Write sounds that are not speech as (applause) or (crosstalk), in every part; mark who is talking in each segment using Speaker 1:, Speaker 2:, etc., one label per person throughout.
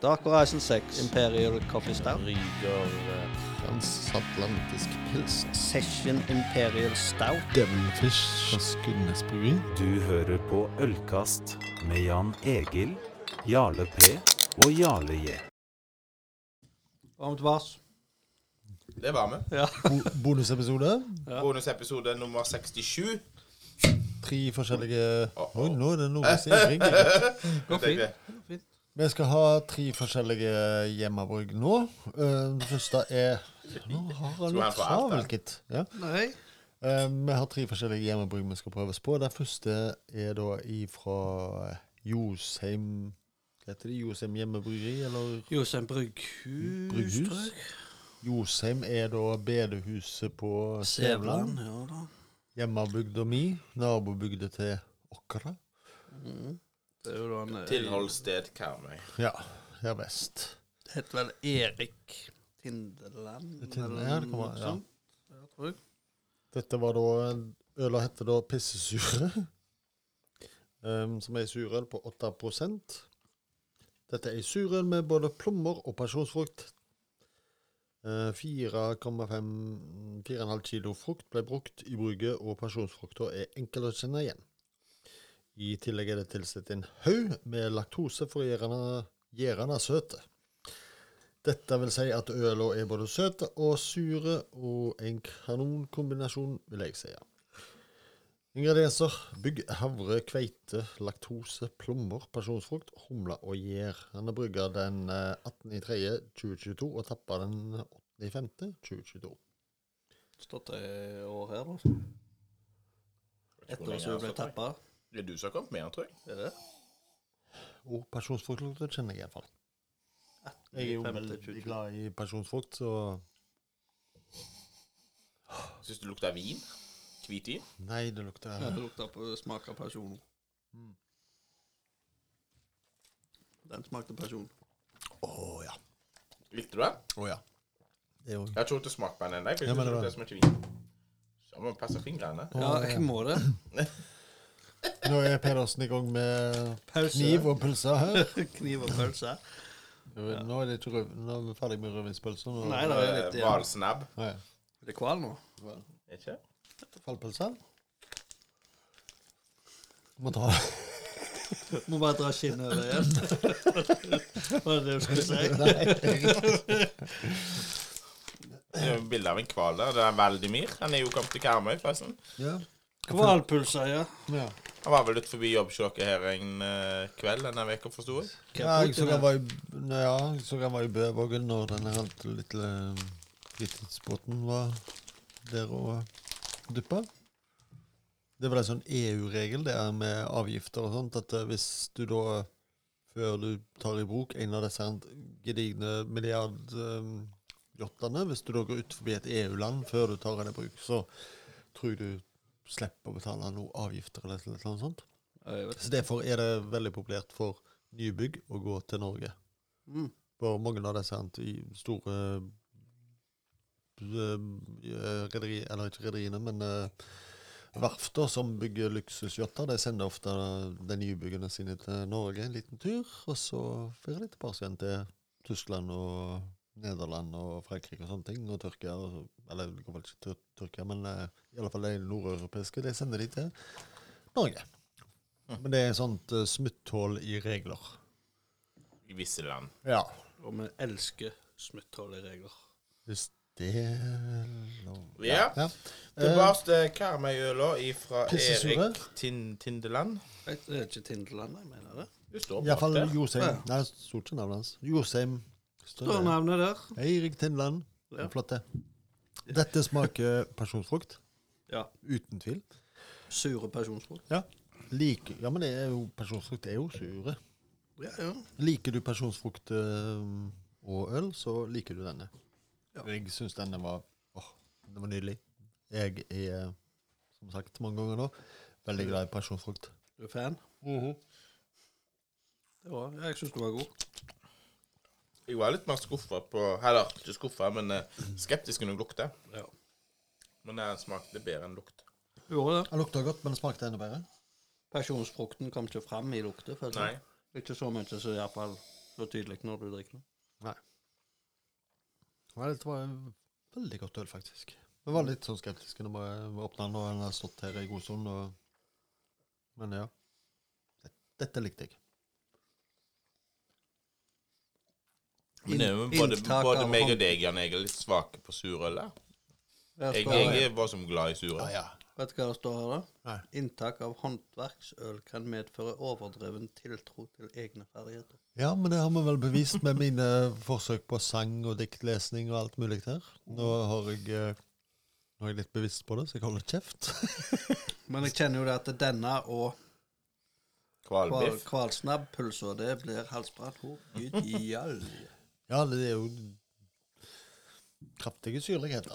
Speaker 1: Dark Horizon 6, Imperial Coffee Stout,
Speaker 2: Ryger eh,
Speaker 3: Transatlantisk pils.
Speaker 1: Session Imperial Stout,
Speaker 3: Devilfish fra Skudenes bryggeri.
Speaker 4: Du hører på Ølkast med Jan Egil, Jarle P og Jarle J.
Speaker 1: Varmt Vars.
Speaker 5: Det var vi.
Speaker 3: Bo bonusepisode.
Speaker 1: Ja.
Speaker 5: Bonusepisode nummer 67.
Speaker 3: Tre forskjellige
Speaker 5: Åh,
Speaker 3: Oi, nå er det noe som ringer.
Speaker 1: Går
Speaker 5: Det er
Speaker 1: fint.
Speaker 5: det.
Speaker 3: Vi skal ha tre forskjellige hjemmebrygg nå. Eh, Den første er Nå har han
Speaker 5: Tror
Speaker 3: litt
Speaker 5: han får alt,
Speaker 3: travelt, gitt. Ja.
Speaker 1: Nei.
Speaker 3: Eh, Vi har tre forskjellige hjemmebrygg vi skal prøves på. Den første er da ifra Josheim Hva heter det? Josheim hjemmebryggeri, eller
Speaker 1: Jostein Brygghus,
Speaker 3: Brygghus?
Speaker 1: tror jeg.
Speaker 3: Josheim er da bedehuset på Sævland.
Speaker 1: Sævland. Ja da.
Speaker 3: Hjemmebygda mi. Nabobygda til Åkra.
Speaker 1: Mm. Det er jo da en eh,
Speaker 5: Tilholdssted Karmøy.
Speaker 3: Ja, her vest.
Speaker 1: Det heter vel Erik Tindeland?
Speaker 3: Det Tindeland,
Speaker 1: eller
Speaker 3: ja, det kan
Speaker 1: noe
Speaker 3: være, ja.
Speaker 1: sånt. Ja, tror jeg.
Speaker 3: Dette var da Øla heter da pissesure. (laughs) Ehm, som er ei surøl på 8 Dette er ei surøl med både plommer og pasjonsfrukt. Eh, 4,5 4,5 kilo frukt ble brukt i bruket, og pasjonsfrukta er enkel å kjenne igjen. I tillegg er det tilsatt en haug med laktose for å gjøre den- gjøre den søte. Dette vil si at øla er både søte og sure, og en kanonkombinasjon, vil jeg si. Ingredienser bygg havre, kveite, laktose, plommer, pasjonsfrukt, humle og gjær. Han er brygga den eh, 18.3.2022 og tappa den 8.5.2022.
Speaker 1: Stått det år her, da.
Speaker 5: Vet ikke
Speaker 1: Etter
Speaker 5: hvor
Speaker 1: at hun ble
Speaker 5: lenge han står på.
Speaker 1: tappa.
Speaker 5: Det er du som har kommet med den, tror jeg.
Speaker 1: Er det?
Speaker 3: Og pasjonsfruktlukta kjenner jeg iallfall. Jeg er jo
Speaker 1: 15,
Speaker 3: veldig
Speaker 1: 22.
Speaker 3: glad i pasjonsfrukt, så
Speaker 5: Syns du lukter vin? Hvitvin?
Speaker 3: Nei, det lukter
Speaker 1: Ja, det lukter på smak av person. Mm. Den smakte person.
Speaker 3: Å ja.
Speaker 5: Likte du den?
Speaker 3: Å ja. Det er jo
Speaker 5: Jeg har ikke fått smakt på den ennå.
Speaker 3: Ja, men
Speaker 5: Jeg synes
Speaker 3: det
Speaker 5: det
Speaker 3: var-
Speaker 5: lukter så mye vin. Så må vi passe fingrene.
Speaker 1: Ja, jeg må det.
Speaker 3: Nå er Pedersen i gang med
Speaker 1: Pause.
Speaker 3: kniv og Mm. pølse her.
Speaker 1: Kniv og pølse.
Speaker 3: Nå er, det ikke røv, nå er vi ferdig med rødvinspølse. nå-
Speaker 1: Nei da, det er
Speaker 5: Eh,
Speaker 1: litt igjen.
Speaker 5: Hvalsnabb.
Speaker 3: Nei.
Speaker 1: Er det kval nå?
Speaker 5: Ikke?
Speaker 3: Fallpølse. Må ta
Speaker 1: Må bare dra skinnet over igjen. (laughs) Var det det du skulle
Speaker 3: (laughs)
Speaker 1: si?
Speaker 5: Det er jo et bilde av en hval der. Det er Valdimir. Han er jo kommet til Karmøy, forresten.
Speaker 3: ja.
Speaker 1: Kvalpølse, ja.
Speaker 3: ja.
Speaker 5: Han var vel litt forbi jobbsjokket her en eh, kveld denne uka, forsto jeg.
Speaker 3: ja jeg så han var i, ja, jeg så han var i Bøvågen når den her lille um, fritidsbåten var der og duppa. Det var en sånn EU-regel det er med avgifter og sånt, at eh, hvis du da, uh, før du tar i bruk en av disse her gedigne milliardjottene, hvis du da går ut forbi et EU-land før du tar den i bruk, så tror jeg du slipper å betale noen avgifter eller et eller annet sånt.
Speaker 1: Ja, jeg vet.
Speaker 3: Så derfor er det veldig populært for nybygg å gå til Norge.
Speaker 1: Mm.
Speaker 3: For mange av disse sant, i store eh, rederi, eller ikke rederiene, men eh, verfter som bygger luksusyachter, de sender ofte de nybyggene sine til Norge en liten tur, og så fer de tilbake igjen til Tyskland og Nederland og Frankrike og sånne ting, og Tyrkia og, Eller det går vel ikke til Tyrkia, men eh, i alle fall de nordeuropeiske, de sender de til Norge. Men det er et sånt eh, smutthull i regler.
Speaker 5: I visse land.
Speaker 3: Ja.
Speaker 1: Og vi elsker smutthull i regler.
Speaker 3: Hvis det er lov.
Speaker 5: Ja.
Speaker 3: Ja. Eh,
Speaker 5: Tilbake til Karmøyøla ifra
Speaker 3: Pissesure.
Speaker 5: Erik Tin Tindeland.
Speaker 1: Jeg- Det er ikke Tindeland, jeg mener det.
Speaker 5: Du står
Speaker 3: Eh, i hvert
Speaker 5: bak
Speaker 3: fall
Speaker 5: der.
Speaker 3: Josheim.
Speaker 1: Ja.
Speaker 3: Nei, det står ikke navnet hans. Josheim. Står
Speaker 1: Står
Speaker 3: det.
Speaker 1: navnet der?
Speaker 3: Eirik Tindland.
Speaker 1: Ja.
Speaker 3: Flott, det. Dette smaker pasjonsfrukt.
Speaker 1: Ja.
Speaker 3: Uten tvil.
Speaker 1: Sure personsfrukt.
Speaker 3: Ja. Like, ja, men det er jo pasjonsfrukt er jo sure.
Speaker 1: Ja, ja.
Speaker 3: Liker du pasjonsfrukt eh, og øl, så liker du denne.
Speaker 1: Ja.
Speaker 3: Jeg syns denne var åh, den var nydelig. Jeg er, som sagt mange ganger nå, veldig glad i pasjonsfrukt.
Speaker 1: Du er fan?
Speaker 3: Mhm.
Speaker 1: Det var, ja, jeg syns du var god.
Speaker 5: Jeg var litt mer skuffa på Eller ikke skuffa, men eh, skeptisk når jeg lukta.
Speaker 1: Ja.
Speaker 5: Men den smakte bedre enn lukt.
Speaker 1: Gjorde det.
Speaker 3: Den lukta godt, men smakte enda bedre.
Speaker 1: Pasjonsfrukten kom ikke fram i lukta. føler jeg.
Speaker 5: Nei.
Speaker 1: Ikke så mye som iallfall så tydelig når du drikker det.
Speaker 3: Nei, dette var en veldig godt øl, faktisk. Jeg var litt sånn skeptisk når jeg åpna den, og den har stått her i god stund. Og... Men ja. Dette likte jeg.
Speaker 5: Men det er jo
Speaker 1: Inn-
Speaker 5: både,
Speaker 1: inntak
Speaker 5: både
Speaker 1: av
Speaker 5: meg og
Speaker 1: hånd.
Speaker 5: deg, Jan Egil, er litt svake på surøl. da.
Speaker 1: Her
Speaker 5: Jeg,
Speaker 1: står det-
Speaker 5: jeg var som glad i surøl.
Speaker 3: ja.
Speaker 1: Vet du hva det står her, da?
Speaker 3: Nei.
Speaker 1: Inntak av håndverksøl kan medføre overdreven tiltro til egne ferdigheter.
Speaker 3: Ja, men det har vi vel bevist med mine forsøk på sang og diktlesning og alt mulig her. Nå har jeg, eh, nå er jeg litt bevisst på det, så jeg holder kjeft. (laughs)
Speaker 1: Men jeg kjenner jo det at denne og kval,
Speaker 5: Hvalbiff.
Speaker 1: kvalsnabbpølsa, det blir halsbrann. Å,
Speaker 3: (laughs)
Speaker 1: gud i all
Speaker 3: Ja, det er jo kraftige syrligheter.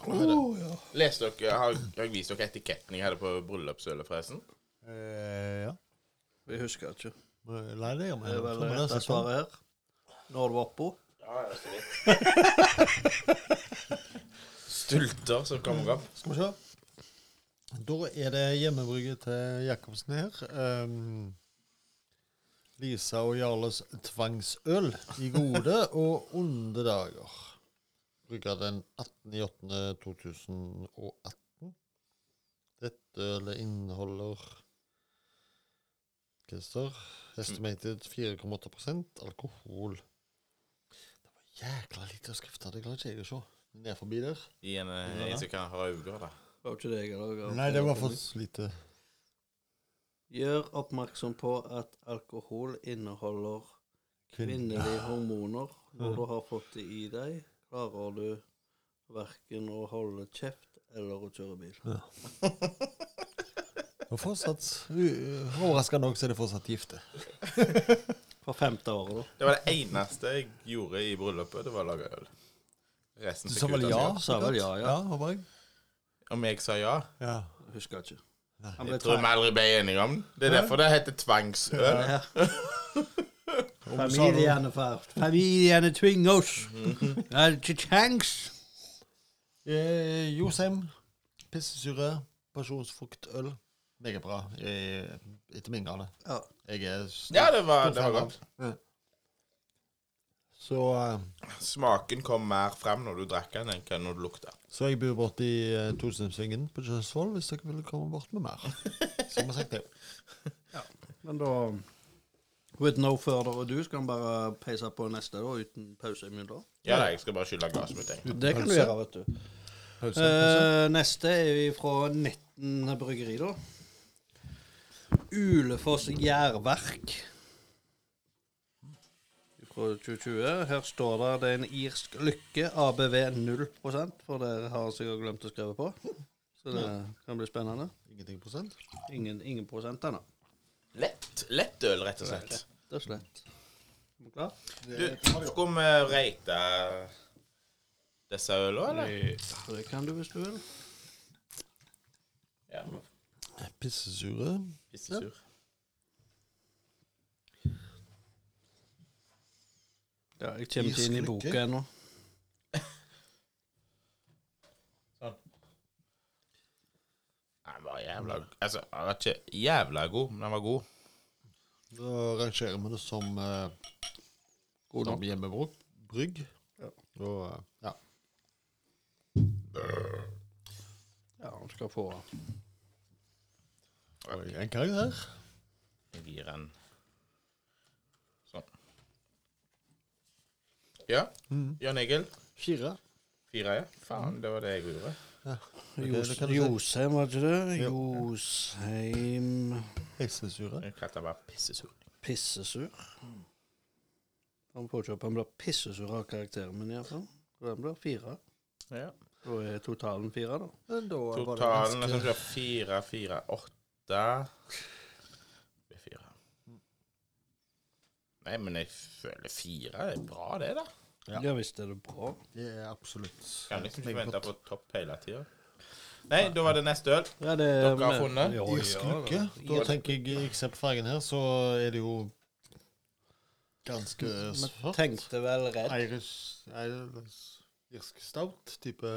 Speaker 5: Leste dere, har, har jeg vist dere etiketten jeg hadde på bryllupsølet, forresten?
Speaker 3: Eh, ja.
Speaker 1: Jeg husker ikke.
Speaker 3: Nei, det gjør vi.
Speaker 1: Det er vel
Speaker 3: Tror vi det
Speaker 1: dette
Speaker 3: er sånn.
Speaker 1: svaret her. Når du var oppå.
Speaker 5: Ja, ja, så vidt. Stulter som kommer opp.
Speaker 3: Skal vi se. Da er det hjemmebrygget til Jacobsen her. Ehm, Lisa og Jarles tvangsøl i gode og onde dager. Brygga den 18.08.2018. Dette ølet inneholder Christer, estimated 4,8 alkohol. Det var jækla lite skrift, det klarer ikke jeg å se. Ned forbi der.
Speaker 5: I en eh, en som kan ha øyne, da.
Speaker 1: Det var jo ikke det jeg hadde.
Speaker 3: Nei, det var for lite.
Speaker 1: Gjør oppmerksom på at alkohol inneholder kvinnelige hormoner. Når du har fått det i deg, klarer du verken å holde kjeft eller å kjøre bil.
Speaker 3: Og fortsatt, u- overraskende nok, så er det fortsatt gifte.
Speaker 1: For femte året, da.
Speaker 5: Det var det eneste jeg gjorde i bryllupet, det var å lage øl. Resten
Speaker 3: Du
Speaker 5: fikk
Speaker 3: sa vel
Speaker 5: ut av
Speaker 3: ja?
Speaker 5: seg.
Speaker 1: Sa vel ja, ja.
Speaker 3: altså. ja håper jeg.
Speaker 5: Om jeg sa ja?
Speaker 3: Ja.
Speaker 1: Husker jeg ikke.
Speaker 3: Nei.
Speaker 1: Han ble
Speaker 5: Jeg tror vi aldri ble enige om det. Det er derfor det heter tvangsøl.
Speaker 1: tvang. (laughs) sånn- Familiene, far. Familiene tvinger oss. Det er ikke kjangs.
Speaker 3: Eh, Josheim, pissesure, pasjonsfruktøl. Megabra, eh, etter min grad.
Speaker 1: Ja.
Speaker 3: Jeg er stor,
Speaker 5: Ja, det var,
Speaker 3: stor
Speaker 5: det var
Speaker 3: fan av.
Speaker 5: godt.
Speaker 3: Ja. Så, eh,
Speaker 5: Smaken kom mer frem når du drakk den enn hva når du lukta.
Speaker 3: så jeg bor borte i eh, Tosenhusvingen på Kjøsvoll, hvis dere vil komme bort med mer. Som jeg sagt det.
Speaker 1: Men da With no further ado skal han bare peise på neste, da, uten pause imellom.
Speaker 5: Ja, nei, jeg skal bare skylle glasset mitt. jeg.
Speaker 1: Det kan du gjøre, vet du.
Speaker 3: Pause.
Speaker 1: Eh, neste er fra 19 bryggeri, da. Ulefoss Gjærverk. Fra 2020. Her står det det er en irsk lykke, ABV 0 for det har jeg sikkert glemt å skrive på. Så det kan bli spennende.
Speaker 3: Eh, Ingenting prosent.
Speaker 1: Ingen, ingen prosent ennå.
Speaker 5: Lett, lett øl, rett og slett.
Speaker 1: Rett og slett. Er du klar?
Speaker 5: Du, skal vi rate disse ølene, eller?
Speaker 1: Det kan du hvis du vil.
Speaker 5: Ja,
Speaker 3: Pissesure.
Speaker 5: hvis du er sur.
Speaker 1: Ja, jeg kommer ikke inn i
Speaker 3: Irsk lykke.
Speaker 1: boka ennå.
Speaker 5: Nei, Den var jævla Altså, den var ikke jævla god, men den var god.
Speaker 3: Da rangerer vi det som eh,
Speaker 1: God
Speaker 3: som hjemmebrygg.
Speaker 1: Ja.
Speaker 3: Og eh, ja.
Speaker 1: Ja, han skal få
Speaker 3: Og en karakter.
Speaker 5: Jeg gir en Sånn. Ja. Jan Egil.
Speaker 3: Fire.
Speaker 5: Fire, ja. Faen, det var det jeg gjorde.
Speaker 3: det
Speaker 1: Jos-
Speaker 3: kan du si.
Speaker 1: Josheim, var det ikke det? Josheim
Speaker 3: Heksesure.
Speaker 5: Jeg kalte den bare pissesur.
Speaker 1: pissesur. Han får ikke opp, han blir pissesur av karakteren min iallfall. Den blir fire.
Speaker 5: Ja.
Speaker 1: Da er totalen fire, da.
Speaker 3: Men da var det
Speaker 5: Totalen er
Speaker 3: ganske
Speaker 5: sånn fire, fire, åtte Det er fire. Nei, men jeg føler fire er bra, det, da.
Speaker 3: Ja.
Speaker 1: Ja, visst er det bra.
Speaker 3: Det er absolutt
Speaker 5: Kan liksom ikke
Speaker 3: meget
Speaker 5: vente
Speaker 3: godt.
Speaker 5: på topp hele tida. Nei, da var det neste øl.
Speaker 1: Ja, det,
Speaker 5: Dere har funnet?
Speaker 1: Ja,
Speaker 3: Irsk
Speaker 1: ja,
Speaker 3: lykke. Da tenker jeg, jeg ser på fargen her, så er det jo ganske
Speaker 1: Vi
Speaker 3: svart.
Speaker 1: tenkte vel redd.
Speaker 3: Irish, Irish Irsk stout type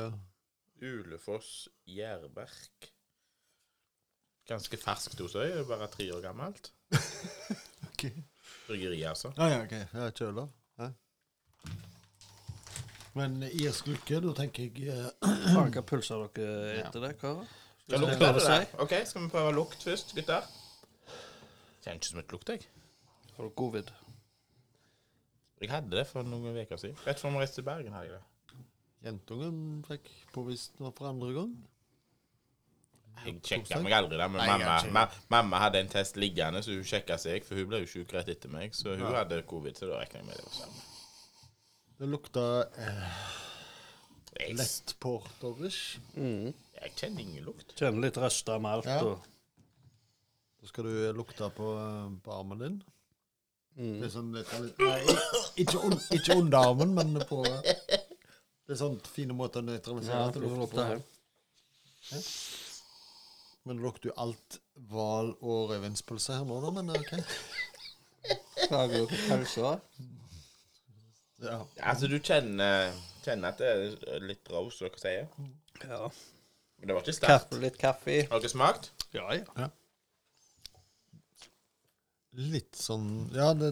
Speaker 5: Ulefoss Gjærverk. Ganske ferskt hos øy, bare tre år gammelt.
Speaker 3: Ok.
Speaker 5: Bryggeri, altså.
Speaker 3: Ah, Ja, ja, ok. Ja, Kjøler. Ja. Men irsk lykke, da tenker jeg eh,
Speaker 1: Faen, hva pølser dere etter det, karer?
Speaker 5: Det
Speaker 1: Skal jeg
Speaker 5: lukter
Speaker 1: prøve
Speaker 5: det
Speaker 1: å
Speaker 5: der.
Speaker 1: si?
Speaker 5: OK, skal vi prøve lukt først, gutter? Kjenner ikke som et lukt, jeg.
Speaker 1: Har dere covid?
Speaker 5: Jeg hadde det for noen uker siden. Rett før vi reiste til Bergen. hadde jeg det.
Speaker 3: Jentungen fikk påvist noe for andre gang.
Speaker 5: Jeg sjekka meg aldri der, men
Speaker 3: Nei, jeg
Speaker 5: mamma,
Speaker 3: kan ikke.
Speaker 5: ma mamma hadde en test liggende, så hun sjekka seg, for hun ble jo sjuk rett etter meg. Så hun hadde covid, så da regner jeg med det var samme.
Speaker 3: Det lukta eh,
Speaker 5: Jeg,
Speaker 3: lett porterish.
Speaker 5: jeg kjenner ingen lukt.
Speaker 1: Kjenner litt røsta malt
Speaker 3: Ja.
Speaker 1: og
Speaker 3: Da skal du eh, lukte på, eh, på armen din.
Speaker 5: Mm.
Speaker 3: Det er sånn litt, Nei, ikke, un, ikke under armen, men på Det er sånn fine måter å nøytralisere
Speaker 1: Ja,
Speaker 3: at det
Speaker 1: det
Speaker 3: lukter
Speaker 1: lukter
Speaker 3: på. Men det lukter jo alt hval og rødvinspølse her nå, da, men eh, OK.
Speaker 1: Klarer dere pølser?
Speaker 3: Ja.
Speaker 5: Altså, du kjenner, kjenner at det er litt rose, som dere sier.
Speaker 1: Ja.
Speaker 5: Men det var ikke sterkt.
Speaker 1: Kaffe, litt kaffe?
Speaker 5: Har dere smakt?
Speaker 1: Ja, ja.
Speaker 3: Litt sånn Ja, det,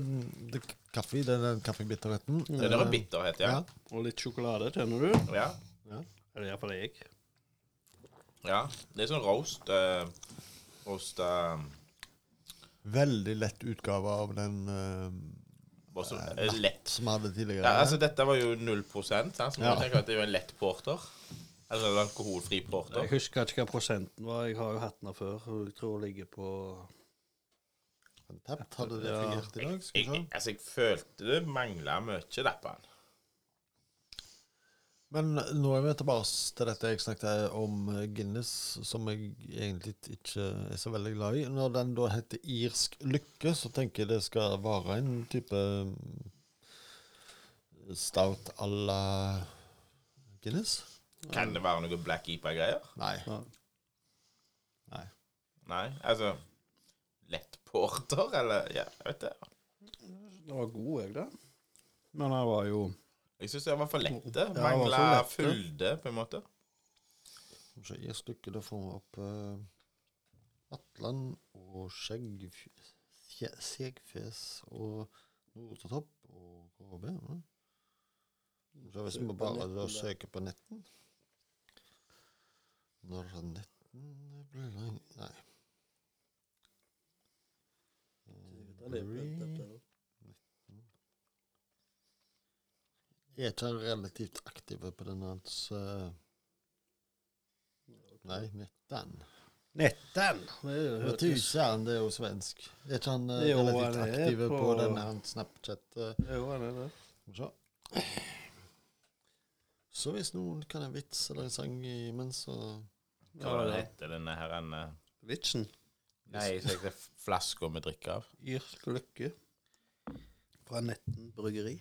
Speaker 3: det kaffe, det er den kaffebitterheten. Eh,
Speaker 5: Det der er bitterhet, ja.
Speaker 1: Og litt sjokolade, kjenner du?
Speaker 5: Ja.
Speaker 1: Eller iallfall jeg.
Speaker 5: ja. Det er sånn roast eh, Roast eh,
Speaker 3: Veldig lett utgave av den eh,
Speaker 5: bare så- eh, Lett.
Speaker 3: som vi hadde tidligere.
Speaker 5: Ja, altså, dette var jo 0 sant? så må
Speaker 3: Ja.
Speaker 5: du tenke at det er jo en lett porter. Eller en alkoholfri
Speaker 1: Jeg
Speaker 5: porter.
Speaker 1: husker ikke hva prosenten var. Jeg har jo hatt den før. og Jeg tror jeg ligger på
Speaker 3: Tapt hadde det
Speaker 1: Ja.
Speaker 3: fungert i dag.
Speaker 5: Jeg,
Speaker 3: Skal vi
Speaker 5: jeg,
Speaker 3: se.
Speaker 5: altså, jeg følte det mangla mye der på den.
Speaker 3: Men nå er vi tilbake til dette jeg snakket om eh, Guinness, som jeg egentlig ikke er så veldig glad i. Når den da heter irsk lykke, så tenker jeg det skal være en type eh, stout à la Guinness.
Speaker 5: Kan det være noe Black Ipa-greier?
Speaker 3: Nei.
Speaker 1: Ja.
Speaker 3: Nei.
Speaker 5: Nei, altså Lett porter, eller Ja, jeg vet det.
Speaker 1: Den var god, jeg, da. Men den var jo
Speaker 5: Jeg syns det var for lette.
Speaker 1: var
Speaker 5: Mangla
Speaker 1: for lette.
Speaker 5: fylde, på en måte.
Speaker 3: Så i stykket da får vi opp eh, Atlan og Skjeggfje- Skje- Skjeggfjes og Nordtopp og KB. Ja. Så hvis vi bare da søker på netten Når er netten blir lang Nei. Er ikke han relativt aktive på denne hans eh, Nei, netten.
Speaker 1: Netten! Det
Speaker 3: Men
Speaker 1: hørtes-
Speaker 3: Tusen, det er jo svensk. Er ikke han eh,
Speaker 1: Jo,
Speaker 3: relativt
Speaker 1: han er
Speaker 3: aktiv på,
Speaker 1: på-
Speaker 3: den her Snapchat? eh,
Speaker 1: Jo, den er det.
Speaker 3: skal vi se. Så hvis noen kan en vits eller en sang imens, så
Speaker 5: Hva var det heter denne her en, eh,
Speaker 1: Vitsen.
Speaker 5: Nei, så heter det flasker med drikke av.
Speaker 1: Irsk lykke. Fra Netten bryggeri.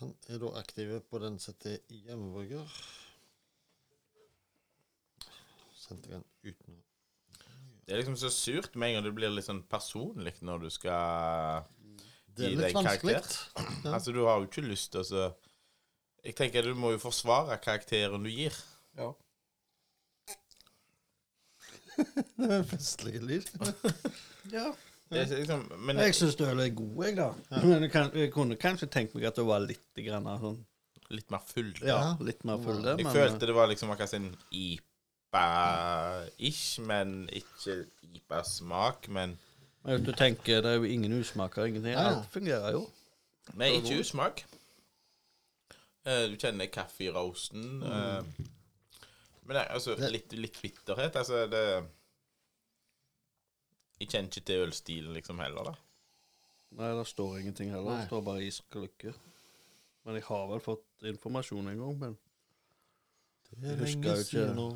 Speaker 3: Han er da aktiv på den som heter Hjemmeburger. Sendte jeg den uten å
Speaker 5: Det er liksom så surt med en gang det blir litt sånn personlig når du skal
Speaker 3: Det
Speaker 5: Gi
Speaker 3: er litt
Speaker 5: deg karakter.
Speaker 3: vanskelig. Ja.
Speaker 5: Altså, du har jo ikke lyst til å så Jeg tenker du må jo forsvare karakteren du gir.
Speaker 1: Ja.
Speaker 3: Det er en festlig lyd.
Speaker 1: (laughs) ja.
Speaker 5: Det er liksom, men
Speaker 1: Jeg syns øl er god, jeg, da. Men jeg, kan, jeg kunne kanskje tenkt meg at det var litt grann sånn
Speaker 5: litt mer fylde.
Speaker 1: Ja, litt mer full, det.
Speaker 5: Jeg
Speaker 1: Men
Speaker 5: følte det var liksom akkurat en IPA-ish, men ikke IPA-smak. Men
Speaker 1: eh, men hvis du tenker det er jo ingen usmaker, ingenting.
Speaker 3: Ja.
Speaker 1: Alt fungerer jo.
Speaker 5: Nei, ikke usmak. Eh, Du kjenner kaffe i roasten.
Speaker 1: Mm.
Speaker 5: eh, Men det er altså litt, litt bitterhet. Altså, det Jeg kjenner ikke til ølstilen liksom heller, da.
Speaker 1: Nei, det står ingenting heller.
Speaker 3: Nei.
Speaker 1: Det står bare isk og lykke. Men jeg har vel fått informasjon en gang, men
Speaker 3: Det er
Speaker 1: Husker
Speaker 3: lenge
Speaker 1: jeg ikke.
Speaker 3: siden nå.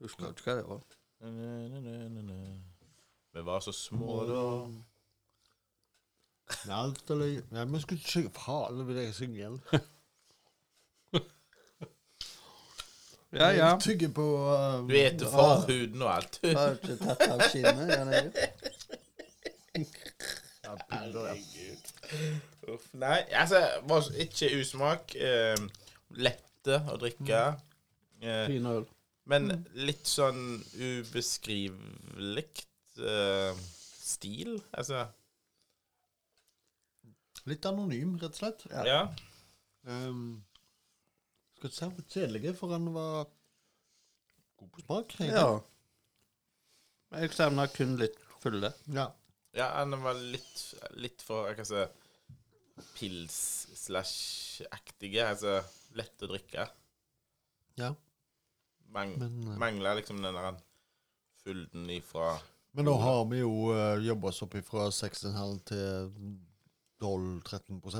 Speaker 1: husker ikke hva det var.
Speaker 5: Vi var så små da.
Speaker 3: Nei, alt er løy. Nei, men skulle ikke synge Faen, nå vil jeg synge igjen.
Speaker 1: Ja, ja.
Speaker 3: Jeg tygger på eh,
Speaker 5: Du eter forhuden og alt.
Speaker 1: Jeg har ikke tatt av skinnet. Jan Erik.
Speaker 3: ja, piller, ja.
Speaker 5: Uff, nei, altså var så- Ikke usmak. Eh, lette å drikke. Eh,
Speaker 1: Fin øl.
Speaker 5: men litt sånn ubeskrivelig eh, stil. Altså
Speaker 3: Litt anonym, rett og slett.
Speaker 5: Ja.
Speaker 3: Ehm, skal ikke si han var kjedelig, for han var god på smak. egentlig.
Speaker 1: Ja. Men jeg savner kun litt fulle.
Speaker 3: ja.
Speaker 5: Ja, han var litt, litt for hva skal jeg si pils-slash-aktige. Altså lett å drikke.
Speaker 3: ja.
Speaker 5: Mang,
Speaker 3: Men, eh,
Speaker 5: Mangler liksom den der fylden ifra
Speaker 3: Men nå har vi jo uh, jobba oss opp fra 6,5 til 12-13 eh,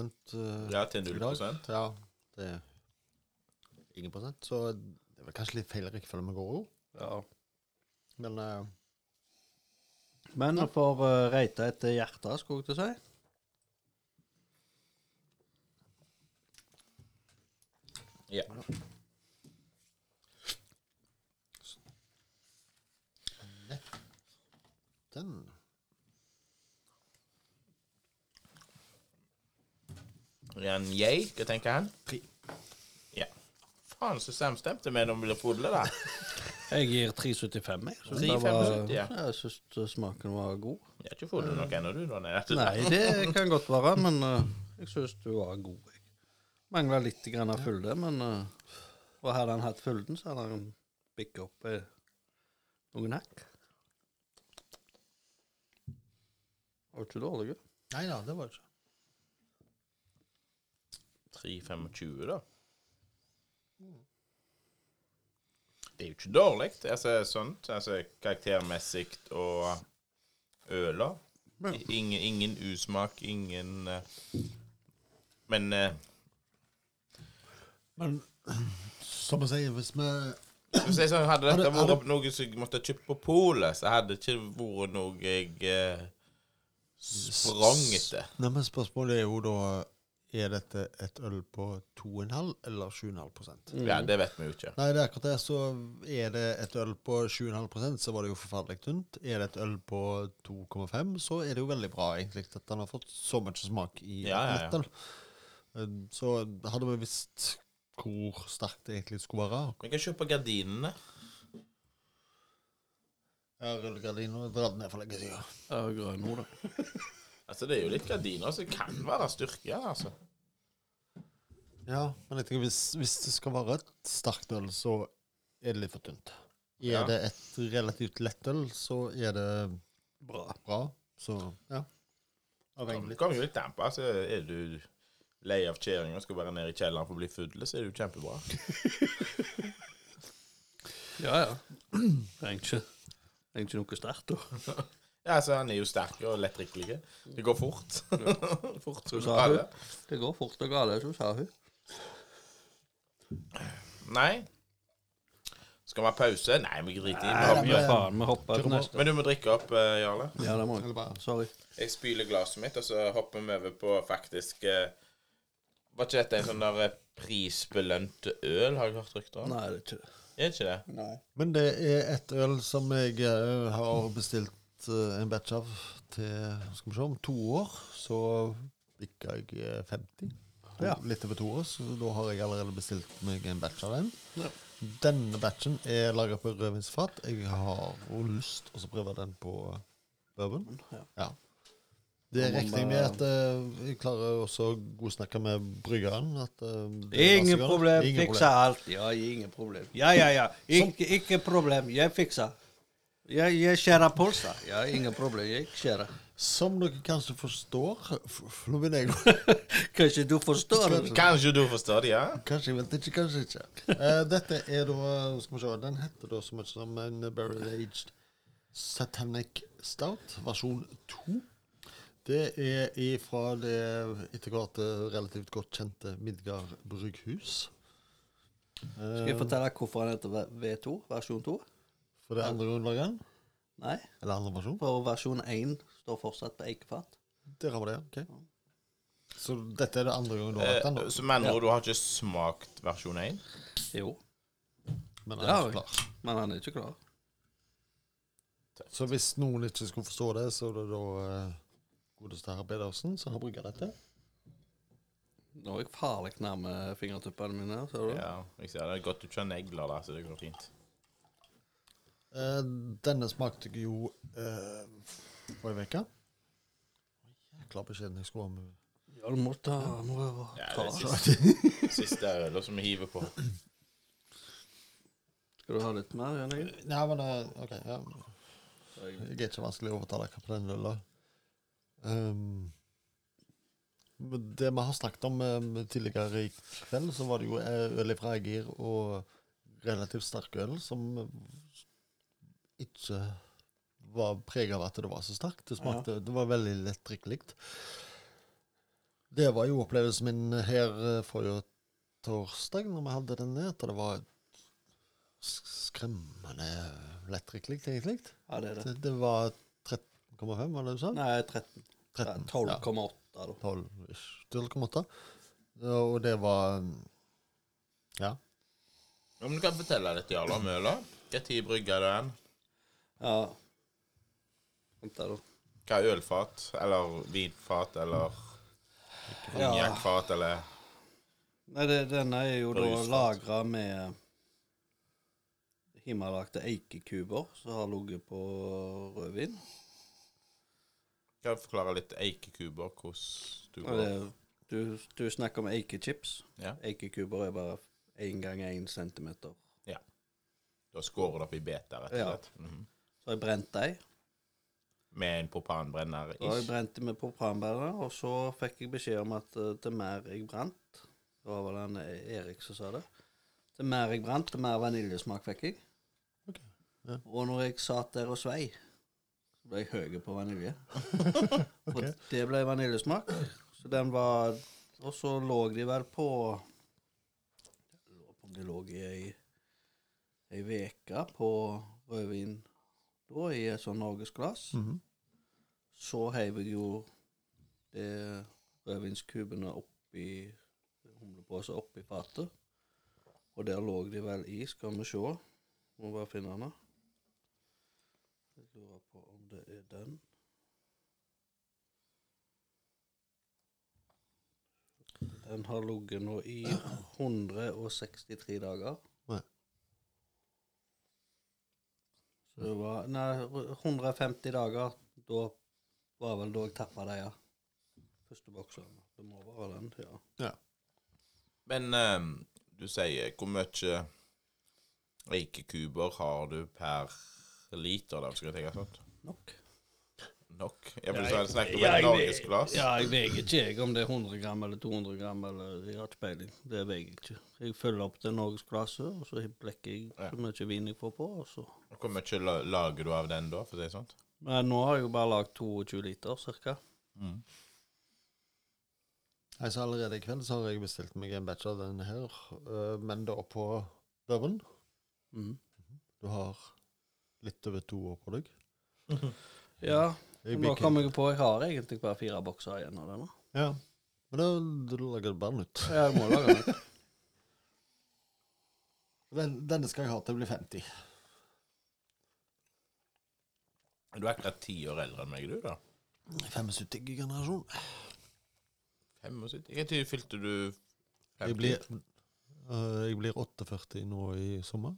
Speaker 5: Ja, til
Speaker 3: i
Speaker 5: 0
Speaker 3: dag. Ja, det er ingen prosent. Så det er vel kanskje litt feil rekkefølge vi går over.
Speaker 1: Ja.
Speaker 3: Men eh,
Speaker 1: Men for uh, Reita etter hjertet, skulle jeg til å si.
Speaker 5: Ja.
Speaker 3: den
Speaker 5: Ren jeg, hva tenker han?
Speaker 3: Tre.
Speaker 5: Ja. Faen, så samstemte vi når vi blir fodle, da.
Speaker 1: Jeg gir 3,75. Jeg synes det
Speaker 5: 3,75,
Speaker 1: var-
Speaker 5: ja.
Speaker 1: Ja, Jeg syns smaken var god.
Speaker 5: Jeg er ikke fodle nok ennå, du, da. Nei.
Speaker 1: Nei, (laughs) det kan godt være, men eh, jeg syns du var god. Jeg mangla litt grann av fylde, men eh, Og hadde han hatt fylden, så hadde han bikka opp eh, noen hakk. Var ikke dårlig. jo.
Speaker 3: Nei da, det var det ikke.
Speaker 5: 3,25, da. Det er jo ikke dårlig, altså sånt. Altså karaktermessig og øla.
Speaker 1: Men-
Speaker 5: Ingen, ingen usmak, ingen eh, Men eh,
Speaker 3: Men (clears throat) som jeg sier, hvis vi
Speaker 5: Hvis jeg sånn, hadde
Speaker 3: Har
Speaker 5: dette
Speaker 3: du- har du-
Speaker 5: vært noe som jeg måtte ha kjøpt på polet, så hadde det ikke vært noe jeg eh, sprang etter.
Speaker 3: Nei, men spørsmålet er jo da Er dette et øl på 2,5 eller 7,5
Speaker 5: Ja, det vet vi jo ikke.
Speaker 3: Nei, det er akkurat det. Så er det et øl på 7,5 så var det jo forferdelig tynt. Er det et øl på 2,5 så er det jo veldig bra, egentlig, at han har fått så mye smak i
Speaker 5: Ja, ja,
Speaker 3: et
Speaker 5: ja.
Speaker 3: nøttøl. Eh, Så hadde vi visst hvor sterkt det egentlig skulle være.
Speaker 5: Vi kan kjøpe gardinene.
Speaker 3: Jeg har rullegardina dratt ned for lenge siden.
Speaker 1: Ja, grønn nå, da.
Speaker 5: Altså, det er jo litt gardiner som kan være styrke, altså.
Speaker 3: Ja, men jeg tenker hvis, hvis det skal være et sterkt øl, så er det litt for tynt. Er
Speaker 5: Ja.
Speaker 3: det et relativt lett øl, så er det
Speaker 1: Bra.
Speaker 3: bra. Så ja.
Speaker 5: Det kommer jo litt an på. Altså, er du lei av kjerringa og skal være nede i kjelleren for å bli full, så er det jo kjempebra.
Speaker 1: Ja, ja. Trenger ikke, trenger ikke noe sterkt, da.
Speaker 5: Ja, altså, Han er jo sterk og lettdrikkelig. Det går fort. fort som
Speaker 1: Så sa
Speaker 5: alle.
Speaker 1: hun. Det går fort og galt, så sa hun.
Speaker 5: (laughs) Nei. Skal vi ha pause? Nei, vi driter i
Speaker 1: Ja,
Speaker 5: det. Vi
Speaker 1: men
Speaker 5: hopper.
Speaker 1: faen, vi hopper til neste.
Speaker 5: Men du må drikke opp, eh, Jarle.
Speaker 1: Ja, det må jeg. Sorry.
Speaker 5: Jeg spyler glasset mitt, og så hopper vi over på faktisk eh, Var ikke dette en sånn der eh, prisbelønt øl, har jeg hørt rykter om?
Speaker 1: Nei, det er ikke det.
Speaker 5: Er ikke det?
Speaker 1: Nei.
Speaker 3: Men det er et øl som jeg eh, har bestilt eh, en batch av til skal vi se, om to år. Så bikka jeg eh, 50. To-
Speaker 1: Ja.
Speaker 3: Litt over to år, så da har jeg allerede bestilt meg en batch av den.
Speaker 1: Ja.
Speaker 3: Denne batchen er laga på rødvinsfat. Jeg har jo lyst til å prøve den på bourbon.
Speaker 1: Ja.
Speaker 3: Ja.
Speaker 1: Da
Speaker 3: Det
Speaker 1: må
Speaker 3: regner jeg
Speaker 1: vi-
Speaker 3: med at eh, jeg klarer også å godsnakke med bryggeren. At, eh, det lar seg
Speaker 1: Ingen
Speaker 3: gjøre.
Speaker 1: problem,
Speaker 3: Ingen
Speaker 1: fiksa alt. Ja, ingen problem. Ja, ja, ja. Ikke, ikke problem, jeg fikser. Jeg, jeg skjærer pølser. Ja, ingen problem, jeg skjærer.
Speaker 3: Som dere kanskje forstår f- f- Nå begynner jeg å
Speaker 1: (laughs)
Speaker 3: (laughs)
Speaker 1: Kanskje du forstår? det?
Speaker 5: Kanskje du forstår det, ja?
Speaker 3: Kanskje jeg vet ikke, kanskje ikke. Eh, dette er da Skal vi se, den heter da så mye som en Buried Aged Satanic Stout, versjon 2. Det er ifra det etter hvert eh, relativt godt kjente Midgard brygghus.
Speaker 1: Skal jeg fortelle deg hvorfor han heter V- V2, versjon 2?
Speaker 3: For det er andre undergangen.
Speaker 1: Nei,
Speaker 3: Eller andre versjon.
Speaker 1: for versjon 1 står fortsatt på eikefat.
Speaker 3: Der har vi det. ok. Så dette er det andre gangen du har hatt den,
Speaker 5: Eh,
Speaker 3: da.
Speaker 5: så med andre ord, du har ikke smakt versjon 1?
Speaker 1: Jo,
Speaker 3: Men
Speaker 1: det
Speaker 3: den
Speaker 1: har
Speaker 3: er
Speaker 1: jeg.
Speaker 3: klar.
Speaker 1: men han er ikke klar.
Speaker 3: Så hvis noen ikke skulle forstå det, så er det da eh, godeste herr Pedersen som har brygga dette.
Speaker 1: Nå er jeg farlig nærme fingertuppene mine, her, ser du?
Speaker 5: Ja, jeg ser det. Godt du ikke har negler, da, så det går fint.
Speaker 3: Eh, denne smakte jeg jo eh, forrige uke. Jækla beskjeden jeg skulle ha med
Speaker 1: Ja, du må ta må jeg
Speaker 5: Ja,
Speaker 1: ta.
Speaker 5: det er siste, (laughs) siste ølet som vi hiver på.
Speaker 1: Skal du ha litt mer, Jan Egil?
Speaker 3: Nei, men eh, OK. Ja. Jeg er ikke vanskelig å overtale dere på den øla. Ehm, men det vi har snakket om eh, tidligere i kveld, så var det jo eh, øl fra Egir og relativt sterk øl som eh, ikke var preget av at det var så sterkt. Det smakte, det var veldig lett drikkelig. Det var jo opplevelsen min her eh, forrige torsdag når vi hadde den ned, at det var sk- skremmende lett drikkelig, egentlig.
Speaker 1: Ja, det er det.
Speaker 3: Det, det var 13,5, var det du sa?
Speaker 1: Nei, 13. Nei,
Speaker 3: 13.
Speaker 1: 12,8, da.
Speaker 3: Ja, 12 ish. 12,8. Og det var mm, Ja.
Speaker 5: Ja, men du kan fortelle litt, Jarle, om øla. Når brygga den?
Speaker 1: Ja. Vent da, da.
Speaker 5: Hva er ølfat? Eller vinfat? Eller
Speaker 1: Ja.
Speaker 5: konjakkfat? Eller
Speaker 1: Nei, det, denne er jo da
Speaker 5: Brusfat.
Speaker 1: lagra med hjemmelagte eikekuber som har ligget på rødvin.
Speaker 5: Kan du forklare litt eikekuber? Hvordan du
Speaker 1: Og
Speaker 5: går?
Speaker 1: det- Du, du snakker om eikechips.
Speaker 5: Ja.
Speaker 1: Eikekuber er bare én gang én centimeter.
Speaker 5: Da skårer du opp i beta, rett og
Speaker 1: Ja.
Speaker 5: slett. Mhm.
Speaker 1: Så har jeg brent dem.
Speaker 5: Med en propanbrenner
Speaker 1: Så har jeg
Speaker 5: ish.
Speaker 1: brent dem med propanbærer, og så fikk jeg beskjed om at eh, til mer jeg brant Det var vel han eh, Erik som sa det. Til mer jeg brant, til mer vaniljesmak fikk jeg.
Speaker 3: Ok, ja.
Speaker 1: Og når jeg satt der og svei, så ble jeg høy på vanilje. Og
Speaker 3: (laughs) Ok.
Speaker 1: det ble vaniljesmak. Så den var Og så lå de vel på Jeg lurer på om de lå i ei, ei veke på rødvin da, i et sånt norgesglass.
Speaker 3: Mhm.
Speaker 1: Så heiv jeg jo det rødvinskubene oppi humlepåsa oppi fatet. Og der lå de vel i, skal vi se. Må bare finne den. da. Jeg lurer på om det er den. Den har ligget nå i 163 dager.
Speaker 3: Nei.
Speaker 1: Så det var Nei, 150 dager. Da var vel da jeg tappa det, ja. Første boksen. Det må være den, ja.
Speaker 5: Men ehm, du sier hvor mye eikekuber har du per liter? da, skal jeg tenke sånn?
Speaker 1: Nok.
Speaker 5: Nok? Ja, for du sa- snakket om et norgesglass.
Speaker 1: Ja, jeg veier ikke jeg om det er 100 gram eller 200 gram. eller Jeg har ikke peiling. Det veier jeg ikke. Jeg følger opp det norgesglasset, og så blekker jeg
Speaker 5: Ja.
Speaker 1: så mye vin jeg får på. og så...
Speaker 5: Og Hvor mye la- lager du av den da, for å si det sånn?
Speaker 1: Men nå har jeg jo bare lagd 22 liter, cirka.
Speaker 5: Mm.
Speaker 3: Nei, så allerede i kveld så har jeg bestilt meg en batch av den her, eh, men da på bourbon.
Speaker 1: Mhm.
Speaker 3: Du har litt over to år på deg.
Speaker 1: Ja,
Speaker 3: Jeg
Speaker 1: nå
Speaker 3: blir
Speaker 1: kom
Speaker 3: ikke-
Speaker 1: jeg på jeg har egentlig bare fire bokser igjen av denne.
Speaker 3: Ja. Men da da lager du bare nytt.
Speaker 1: Jeg må lage den.
Speaker 3: Den, denne skal jeg ha til jeg blir 50.
Speaker 5: Du er akkurat ti år eldre enn meg, du, da.
Speaker 3: 75-generasjon.
Speaker 5: 75. Når fylte du 50?
Speaker 3: Jeg blir, eh, jeg blir 48 nå i sommer.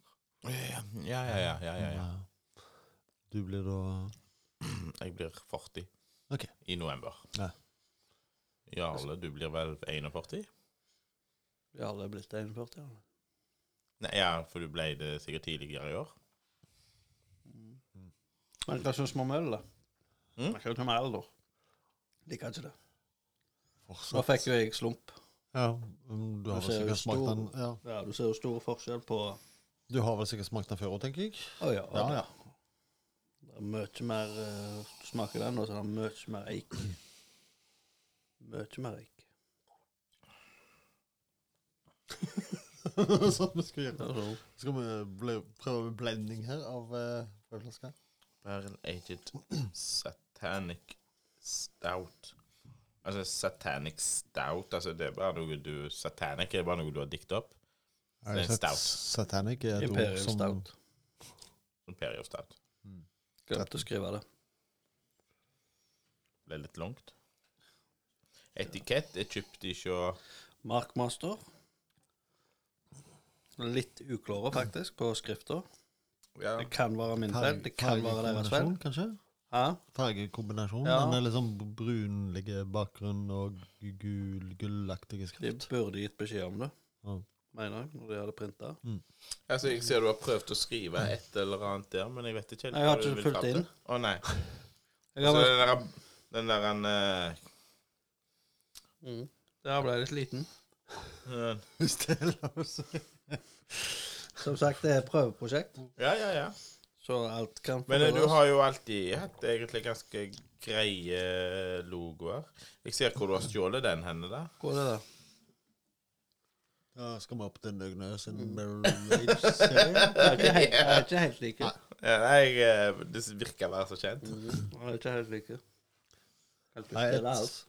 Speaker 5: Ja, ja, ja. ja, ja, ja, ja.
Speaker 3: Du blir da
Speaker 5: Jeg blir 40
Speaker 3: Mm. Ok.
Speaker 5: i november.
Speaker 3: Ja.
Speaker 5: Jarle, du blir vel 41?
Speaker 1: Ja, det er blitt 41. Ja.
Speaker 5: Nei, ja, for du ble det sikkert tidligere i år.
Speaker 1: Men hva syns vi om øl, da?
Speaker 5: Mm?
Speaker 1: Jeg kan jo ta med øl, da. Liker ikke det. Nå
Speaker 3: fortsatt
Speaker 1: fikk jo jeg slump.
Speaker 3: Ja, mm, du har
Speaker 1: Du
Speaker 3: vel
Speaker 1: ser jo
Speaker 3: sikkert smakt
Speaker 1: stor-
Speaker 3: den ja.
Speaker 1: Ja, Du ser jo stor forskjell på Å
Speaker 3: Du har vel sikkert smakt den før òg, tenker jeg.
Speaker 1: ja.
Speaker 3: Ja,
Speaker 1: det-
Speaker 3: ja.
Speaker 1: Det er mye mer eh, Du smaker den, og så er det mye mer eik. Mye mer eik.
Speaker 3: sånn vi skal gjøre.
Speaker 1: Altså,
Speaker 3: Skal vi ble, prøve blending her av uh, prøveflaska?
Speaker 5: Barrel aged satanic stout. Altså satanic stout, altså det er bare noe du Satanic er bare noe du har diktet opp. Så det er en
Speaker 3: Sat-
Speaker 5: stout.
Speaker 3: Satanic er et ord
Speaker 1: Imperial
Speaker 3: som
Speaker 1: Stout.
Speaker 5: Imperium stout.
Speaker 1: Glemte å skrive det.
Speaker 5: Ble litt langt. Etikett er kjøpt i sjå
Speaker 1: Markmaster. Litt uklare, faktisk, på skrifta.
Speaker 5: ja.
Speaker 1: Det kan være min feil. Det kan være deres feil.
Speaker 3: fargekombinasjon, kanskje?
Speaker 1: Hæ?
Speaker 3: Fargekombinasjon.
Speaker 1: Ja.
Speaker 3: Den er liksom brunlige bakgrunn og gul, gullaktige
Speaker 1: De
Speaker 3: skrift.
Speaker 1: burde gitt beskjed om det,
Speaker 3: Ja.
Speaker 1: mener jeg, når de hadde printa.
Speaker 5: Altså, jeg ser du har prøvd å skrive et eller annet der, men jeg vet ikke helt
Speaker 1: Jeg har
Speaker 5: hva du
Speaker 1: ikke
Speaker 5: vil
Speaker 1: fulgt
Speaker 5: fram til.
Speaker 1: inn.
Speaker 5: Å nei.
Speaker 1: (laughs) Jeg
Speaker 5: Så
Speaker 1: har vært-
Speaker 5: den der, den der en, eh,
Speaker 1: mm, Der ble jeg litt (laughs) liten.
Speaker 5: eh,
Speaker 3: Hvis det er lov å si.
Speaker 1: Som sagt, det er et prøveprosjekt,
Speaker 5: Ja, ja, ja.
Speaker 1: så alt kan
Speaker 5: Men eh, du
Speaker 1: forbedres.
Speaker 5: har jo alltid hatt egentlig ganske greie logoer. Jeg ser hvor du har stjålet den henne, da.
Speaker 1: Hvor er det da?
Speaker 3: Ja, skal vi opp til Nøgnøs and Berlage?
Speaker 1: Jeg er ikke helt, jeg er ikke helt like.
Speaker 5: Ja, Nei, jeg, eh, det virker å være så kjent.
Speaker 1: Jeg er ikke helt like. Kan ikke
Speaker 3: Nei, et-
Speaker 1: spille alt.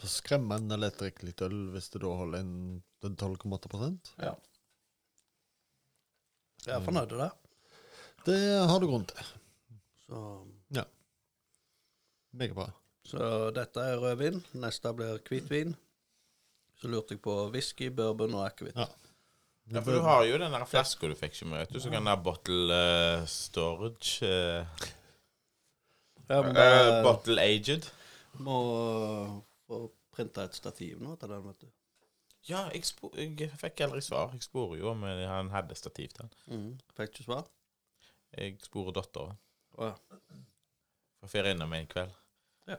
Speaker 3: Skremmende lettdrikkelig øl hvis det da holder en den 12,8
Speaker 1: Ja. Jeg er fornøyd med det.
Speaker 3: Det har du grunn til.
Speaker 1: Så,
Speaker 3: Meget bra.
Speaker 1: så dette er rødvin. Neste blir hvitvin. Så lurte jeg på whisky, bourbon og akevitt.
Speaker 3: Ja.
Speaker 5: Ja, for du har jo den der flaska du fikk ikke med, vet du. Så kan den der bottle eh, storage eh,
Speaker 1: Jeg må,
Speaker 5: eh, Bottle aged.
Speaker 1: må få printa et stativ nå til den, vet du.
Speaker 5: Ja, jeg, spo jeg fikk aldri svar. Jeg sporer jo om eh, han hadde stativ til den.
Speaker 1: Mm. Fikk ikke svar?
Speaker 5: Jeg sporer datteren.
Speaker 1: Å, ja.
Speaker 5: Får ferie innom en kveld.
Speaker 1: Ja.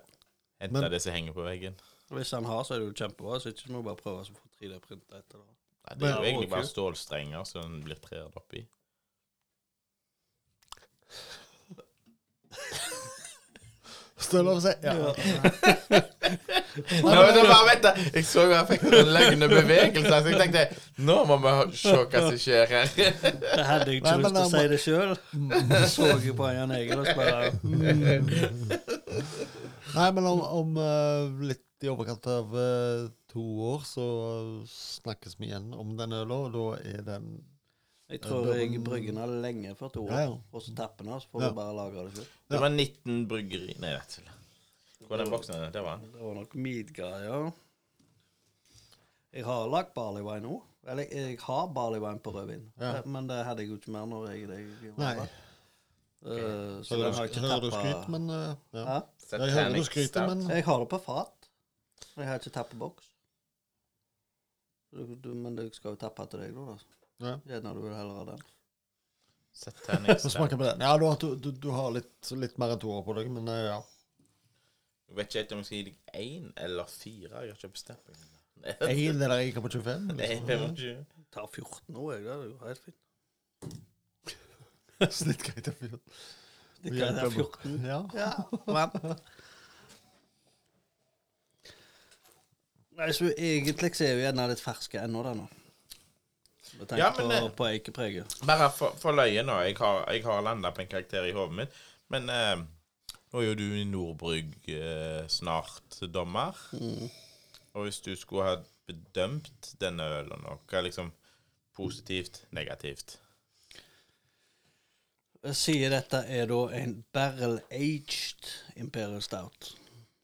Speaker 5: Henta
Speaker 3: Men-
Speaker 5: det som henger på veggen.
Speaker 1: Hvis han har, så er det jo kjempebra. Så ikke må du bare prøve å få 3D-printa etter det.
Speaker 5: Nei, det er
Speaker 1: Men-
Speaker 5: jo egentlig bare
Speaker 1: Kult.
Speaker 5: stålstrenger som den blir tredd oppi. (laughs)
Speaker 3: Støl over seg. Ja.
Speaker 5: Nei, men det var, vent da. Jeg så jo jeg fikk noen løgne bevegelser, så jeg tenkte nå må vi ha- se hva som skjer her.
Speaker 1: Det hadde jeg ikke
Speaker 3: Nei, men
Speaker 1: lyst til å
Speaker 3: han
Speaker 1: si
Speaker 3: må- Mm,
Speaker 1: det sjøl. Så jeg på Jan Egil og spurte
Speaker 3: Nei, men om, om eh, litt i overkant av eh, to år så snakkes vi igjen om den øla, og da er den
Speaker 1: Jeg tror jeg brygger den av lenge før to
Speaker 3: Ja, ja.
Speaker 1: år, og så tapper den, og så får
Speaker 3: Ja.
Speaker 1: vi bare lage det selv.
Speaker 5: (laughs) Det var 19 bryggeri Nei, jeg vet ikke. Hvor er den boksen? Der var den.
Speaker 1: Det var nok midgreier. Jeg har lagd barley wine òg. Eller jeg har barley wine på rødvin,
Speaker 3: Ja.
Speaker 1: men det hadde jeg jo ikke mer når jeg jeg var
Speaker 3: Nei.
Speaker 1: der. Eh, så
Speaker 3: Så
Speaker 1: den har jeg
Speaker 3: jeg
Speaker 1: ikke
Speaker 3: hører du skryt,
Speaker 1: tappa.
Speaker 3: men eh, ja.
Speaker 1: Hæ?
Speaker 3: Jeg hører du skryter, men
Speaker 1: Jeg har det på fat. men Jeg har ikke tappa boks. Du, du, men jeg skal jo tappe til deg, da. da.
Speaker 3: Ja.
Speaker 1: Gjerne du vil heller ha den.
Speaker 5: Satanic
Speaker 3: Få
Speaker 5: Stout.
Speaker 3: smake på den. Ja, du, har- du, du, du har litt, litt mer enn to år på deg, men eh, ja.
Speaker 5: Jeg vet ikke helt om jeg skal gi deg én eller fire. Jeg har ikke bestemt meg.
Speaker 3: Jeg er der jeg gikk på 25.
Speaker 5: Nei,
Speaker 3: Liksom. (laughs)
Speaker 5: det var ikke-
Speaker 1: Tar 14 nå, jeg. Det er jo helt fint.
Speaker 3: Snittgreit og fint.
Speaker 1: Det kan være 14.
Speaker 3: Ja.
Speaker 1: Ja, vent. Nei, så egentlig så er vi gjerne litt ferske ennå, da, nå. Med tanke
Speaker 5: Ja, men
Speaker 1: på,
Speaker 5: det-
Speaker 1: på eikepreget.
Speaker 5: Bare for, for løye nå. Jeg har, jeg har landa på en karakter i hodet mitt. Men eh, nå er jo du i Nordbrygg eh, snart dommer. Og hvis du skulle ha bedømt denne ølen nå, hva er liksom positivt, negativt?
Speaker 1: Jeg sier dette er da en barrel-aged Imperial Stout.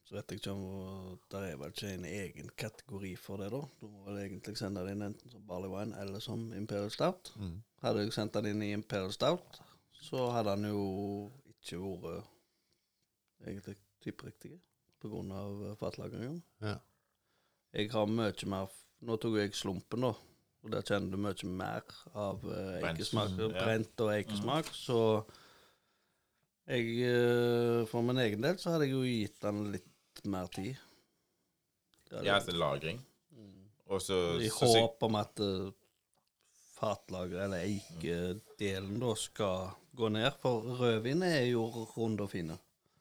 Speaker 1: Så vet jeg ikke om Det er vel ikke en egen kategori for det, da. Du må vel egentlig sende det inn enten som Barley Wine eller som Imperial Stout.
Speaker 3: Mm.
Speaker 1: Hadde jeg sendt den inn i Imperial Stout, så hadde den jo ikke vært egentlig typeriktig på grunn av eh, fatlagringen.
Speaker 3: Ja.
Speaker 1: Jeg har mye mer f- Nå tok jeg slumpen, da. Og der kjenner du mye mer av eh,
Speaker 5: Brent.
Speaker 1: eikesmak.
Speaker 5: Mm, ja. Mm.
Speaker 1: Brent og eikesmak. Så jeg eh, For min egen del så hadde jeg jo gitt den litt mer tid. Det hadde
Speaker 5: Ja,
Speaker 1: jeg-
Speaker 5: altså lagring. Og så
Speaker 1: I
Speaker 5: så- så-
Speaker 1: håp om at eh, fatlageret, eller eikedelen, da skal gå ned. For rødvin er jo runde og fine,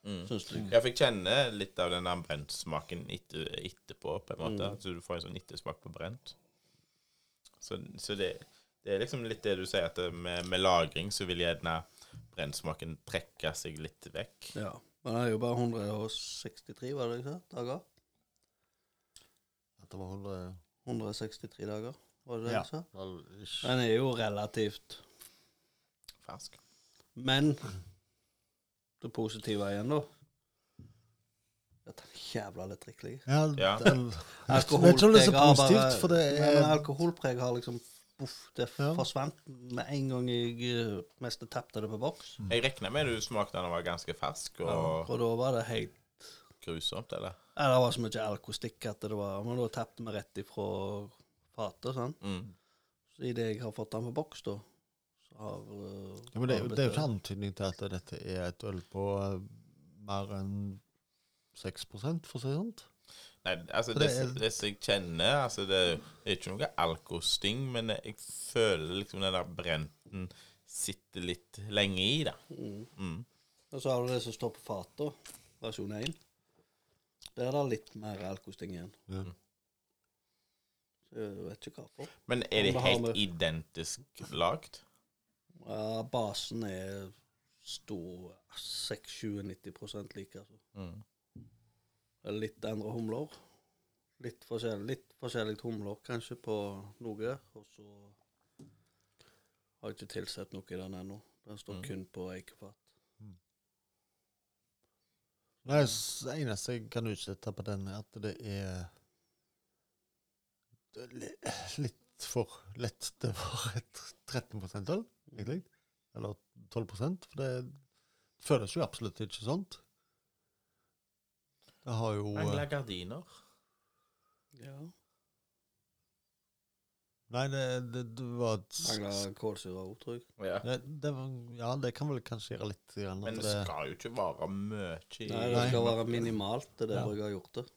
Speaker 5: Mm.
Speaker 1: syns jeg.
Speaker 5: Jeg fikk kjenne litt av den der brentsmaken etter, etterpå, på en måte. Så du får en sånn ettersmak på brent. Så, så det, det er liksom litt det du sier, at det med, med lagring så vil gjerne brentsmaken trekke seg litt vekk.
Speaker 1: Ja. Men det er jo bare 163, var det ikke det? Dager?
Speaker 3: At det var 100
Speaker 1: 163 dager, var det det
Speaker 3: Ja.
Speaker 1: jeg sa?
Speaker 3: vel, ish.
Speaker 1: Den er jo relativt
Speaker 5: Fersk.
Speaker 1: Men det positive igjen, da At den er jævla litt drikkelig.
Speaker 3: Ja,
Speaker 5: Ja.
Speaker 3: den- Jeg vet ikke om det er så
Speaker 1: Alkoholpreget har
Speaker 3: positivt, for det
Speaker 1: Nei, men
Speaker 3: er
Speaker 1: alkoholpreget har liksom Uff, det
Speaker 3: Ja.
Speaker 1: forsvant med en gang jeg eh, mest tapte det på boks.
Speaker 5: Jeg regner med du smakte den og var ganske fersk og
Speaker 1: Og da var det helt
Speaker 5: grusomt, eller?
Speaker 1: ja, Det var så mye alkostikk at det var Men da tapte vi rett ifra fatet. sant?
Speaker 5: Mm.
Speaker 1: Så idet jeg har fått den på boks, da, så har eh,
Speaker 3: Ja, men det, er
Speaker 1: har
Speaker 3: jo- det er jo ikke
Speaker 1: blitt-
Speaker 3: antydning til at dette er et øl på eh, mer enn 6 for å si det sånn.
Speaker 5: Nei, altså
Speaker 3: For
Speaker 5: det,
Speaker 3: det er-
Speaker 5: det som jeg kjenner altså det, det er ikke noe alkosting, men jeg føler liksom den der brenten sitter litt lenge i, da. Mm.
Speaker 1: Og så har du det som står på fatet, versjon 1. Der er det litt mer alkosting igjen.
Speaker 3: Ja.
Speaker 1: Så jeg vet ikke hvorfor.
Speaker 5: Men er
Speaker 1: Om
Speaker 5: det
Speaker 1: det har
Speaker 5: helt
Speaker 1: med-
Speaker 5: identisk lagd?
Speaker 1: Ja, basen er stor 6-7-90 lik, altså.
Speaker 5: Mm.
Speaker 1: Litt andre humler. Litt forskjellig, litt forskjellig humler kanskje på noe, og så har jeg ikke tilsett noe i den ennå. Den står
Speaker 5: Mm.
Speaker 1: kun på eikefat.
Speaker 3: Nei, s- det eneste jeg kan utsette på den, er at det er det er li- litt for lett. Det var et 13 %-øl, egentlig. Eller 12 for det føles jo absolutt ikke sånt. Det har jo
Speaker 5: Mangler gardiner.
Speaker 1: Ja.
Speaker 3: Nei, det, det, det var et s-
Speaker 1: Mangler kålsyre òg, tror jeg.
Speaker 5: Ja.
Speaker 3: det, det, var- Ja, det kan vel kanskje gjøre litt grann,
Speaker 5: Men
Speaker 3: at
Speaker 5: det
Speaker 3: det,
Speaker 5: skal jo ikke vare mye i
Speaker 1: Nei, det skal være minimalt. Det er
Speaker 3: Ja.
Speaker 1: derfor jeg har gjort det.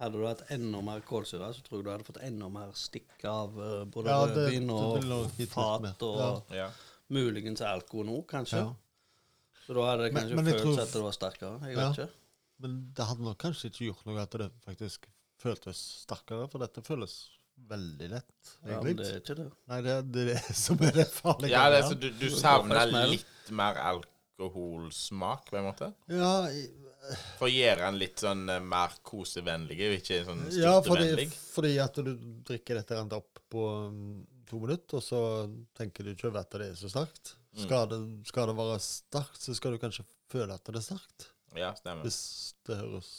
Speaker 1: Hadde du hatt enda mer kålsyre, så tror jeg du hadde fått enda mer stikk av eh, både
Speaker 3: Ja, det-
Speaker 1: rødvin
Speaker 3: det vil nok gitt
Speaker 1: og
Speaker 3: litt mer.
Speaker 1: fat og
Speaker 3: Ja.
Speaker 5: Ja.
Speaker 1: muligens alkohol nå, kanskje.
Speaker 3: ja.
Speaker 1: Så da hadde det
Speaker 3: Men-
Speaker 1: kanskje
Speaker 3: men jeg
Speaker 1: føltes
Speaker 3: tror-
Speaker 1: at det var sterkere. Jeg vet
Speaker 3: Ja.
Speaker 1: ikke.
Speaker 3: Men det hadde nok kanskje ikke gjort noe at det faktisk føltes sterkere, for dette føles veldig lett,
Speaker 1: Ja, men
Speaker 3: egentlig.
Speaker 1: det er ikke det.
Speaker 3: Nei, det, det (laughs) er det som er det farlige.
Speaker 5: ja, det, er
Speaker 3: her.
Speaker 5: så du, du
Speaker 1: Først
Speaker 5: savner
Speaker 1: smell.
Speaker 5: litt mer alkoholsmak, på en måte?
Speaker 3: ja, i-
Speaker 5: For å gjøre den litt sånn eh, mer kosevennlig, og ikke sånn
Speaker 3: ja fordi,
Speaker 5: styrtevennlig.
Speaker 3: fordi at du drikker dette rent opp på mm, to minutter, og så tenker du ikke over at det er så sterkt.
Speaker 5: Mm.
Speaker 3: Skal det, skal det være sterkt, så skal du kanskje føle at det er sterkt.
Speaker 5: Ja, stemmer.
Speaker 3: Hvis det høres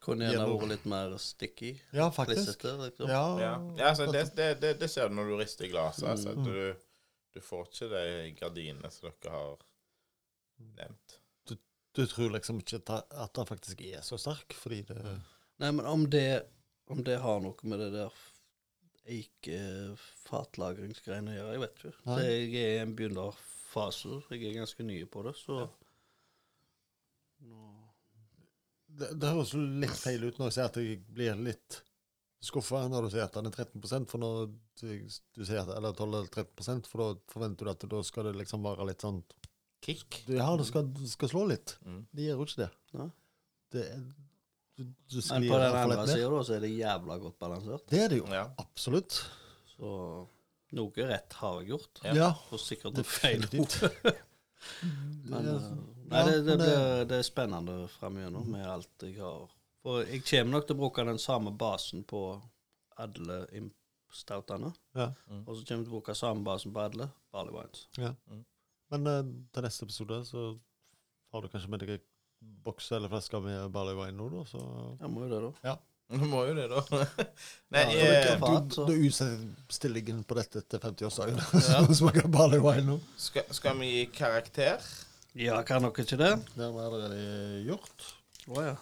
Speaker 1: Kunne gjerne
Speaker 3: Gjennom-
Speaker 1: vært litt mer sticky.
Speaker 3: Ja, faktisk.
Speaker 1: Klissete, liksom.
Speaker 3: Ja,
Speaker 5: Ja, ja altså, det, det, det, det ser du når du rister i glasset. Altså, at du, du får ikke de gardinene som dere har nevnt.
Speaker 3: Du tror liksom ikke at det- at den faktisk er så sterk, fordi det
Speaker 5: Mm.
Speaker 1: Nei, men om det, om det har noe med det der f- eikefatlagringsgreiene å gjøre, jeg vet ikke.
Speaker 3: Nei.
Speaker 1: Det, jeg er i en begynnerfase. Jeg er ganske ny på det, så nå,
Speaker 3: Det, det høres jo litt feil ut når jeg sier at jeg blir litt skuffa når du sier at den er 13 for når du, du sier at, eller 12 eller 13 for da forventer du at da skal det liksom være litt sånn
Speaker 5: Kick.
Speaker 3: du, Ja, det skal, det skal slå litt.
Speaker 5: Mm.
Speaker 3: Det gjør jo ikke det.
Speaker 1: Nei.
Speaker 3: det er- du, du
Speaker 1: Men
Speaker 3: sklir
Speaker 1: på den
Speaker 3: iallfall litt
Speaker 1: andre
Speaker 3: ned.
Speaker 1: sida, da, så er det jævla godt balansert.
Speaker 3: Det er det jo.
Speaker 5: Ja.
Speaker 3: Absolutt.
Speaker 1: Så noe rett har jeg gjort.
Speaker 5: Ja.
Speaker 3: Ja.
Speaker 1: Og sikkert noe feil ord.
Speaker 3: Definitivt.
Speaker 1: Men,
Speaker 3: Ja,
Speaker 1: eh, nei, det, det,
Speaker 3: men det-
Speaker 1: blir- det er spennende framover med alt jeg har. For jeg kommer nok til å bruke den samme basen på alle impstautene.
Speaker 3: Ja.
Speaker 1: Og så kommer jeg til å bruke samme basen på alle barley wines.
Speaker 3: Men eh, til neste episode så har du kanskje med deg en boks eller flaske med Barley Wine nå, da, så
Speaker 1: Jeg må jo det, da.
Speaker 5: Du må jo det, da. (laughs) Nei,
Speaker 1: Ja,
Speaker 5: eh,
Speaker 1: det er bra.
Speaker 3: Du, du utstiller ingen på dette til 50-årsdagen. (laughs) Ja. Smaker barley wine nå.
Speaker 5: skal, skal vi gi karakter?
Speaker 1: Ja, kan dere ikke det?
Speaker 3: Det har vi allerede gjort.
Speaker 1: Å ja.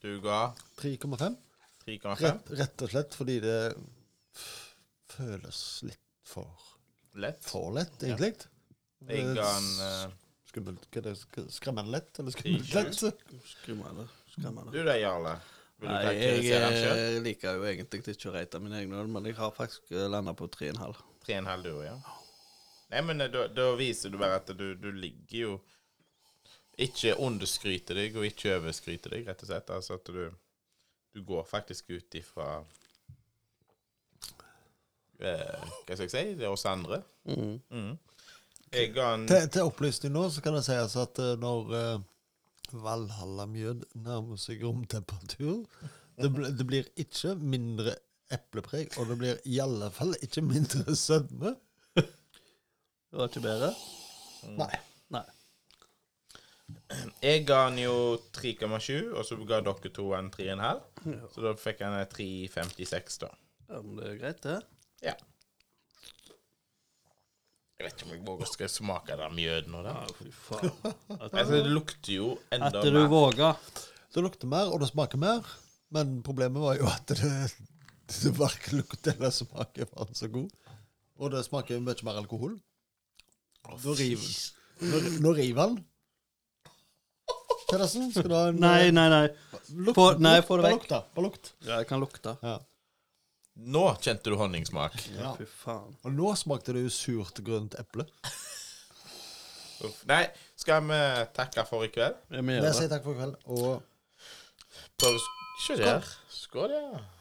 Speaker 5: Du ga
Speaker 3: 3,5.
Speaker 5: 3,5.
Speaker 3: Rett, rett og slett fordi det f- føles litt for,
Speaker 5: Lett.
Speaker 3: for lett, egentlig.
Speaker 5: Jeg ga en eh,
Speaker 3: Skummelt. Hva er det? Sk- Skremmende lett, eller
Speaker 5: Ikke.
Speaker 3: skummelt lett?
Speaker 1: Skremmende. Skremmende.
Speaker 5: Du da, Jarle. Vil du
Speaker 1: Nei, jeg
Speaker 5: karakterisere den sjøl?
Speaker 1: eh, liker jo egentlig ikke å rate mine egne øl, men jeg har faktisk landa på 3,5.
Speaker 5: 3,5 du òg, ja. Nei, men eh, da, da viser du bare at du, du ligger jo Ikke underskryter deg, og ikke overskryter deg, rett og slett. Altså at du Du går faktisk ut ifra eh, Hva skal jeg si? Det er oss andre.
Speaker 1: Mm.
Speaker 5: Mm. Jeg ga en
Speaker 3: Til, til opplysning nå så kan det sies at eh, når eh, Valhalla-mjød nærmer seg romtemperatur det, bl det blir ikke mindre eplepreg, og det blir i alle fall ikke mindre sødme.
Speaker 1: Det var ikke bedre?
Speaker 3: Nei.
Speaker 1: Nei.
Speaker 5: Jeg ga han jo 3,7, og så ga dere to en 3,5. Så da fikk han en 3,56, da.
Speaker 1: Ja, men det er greit, det.
Speaker 5: Ja. Jeg vet ikke om jeg våger skal jeg smake den mjøden og den.
Speaker 1: Ja, fy faen. (laughs) At,
Speaker 5: Altså, det lukter jo
Speaker 1: at
Speaker 5: enda
Speaker 1: du
Speaker 5: mer.
Speaker 1: våger.
Speaker 3: Det lukter mer, og det smaker mer, men problemet var jo at det, det verken lukter eller smaker var så god. Og det smaker mye mer alkohol. Nå river, nå, nå river han. Pedersen, skal du ha en
Speaker 1: Nei, nei, nei.
Speaker 3: lukt,
Speaker 1: få- nei, få det
Speaker 3: bare
Speaker 1: vekk.
Speaker 3: Lukt, da. Bare lukt.
Speaker 1: Ja, jeg kan lukte.
Speaker 3: Ja.
Speaker 5: Nå kjente du honningsmak.
Speaker 3: Ja.
Speaker 1: Fy faen.
Speaker 3: Og nå smakte det jo surt grønt eple.
Speaker 5: Uff. Nei, skal vi takke for i kveld?
Speaker 1: Jeg må
Speaker 3: Jeg
Speaker 1: gjøre det.
Speaker 3: sier takk for i kveld, og
Speaker 5: Bare sk- Skål. Skål, ja.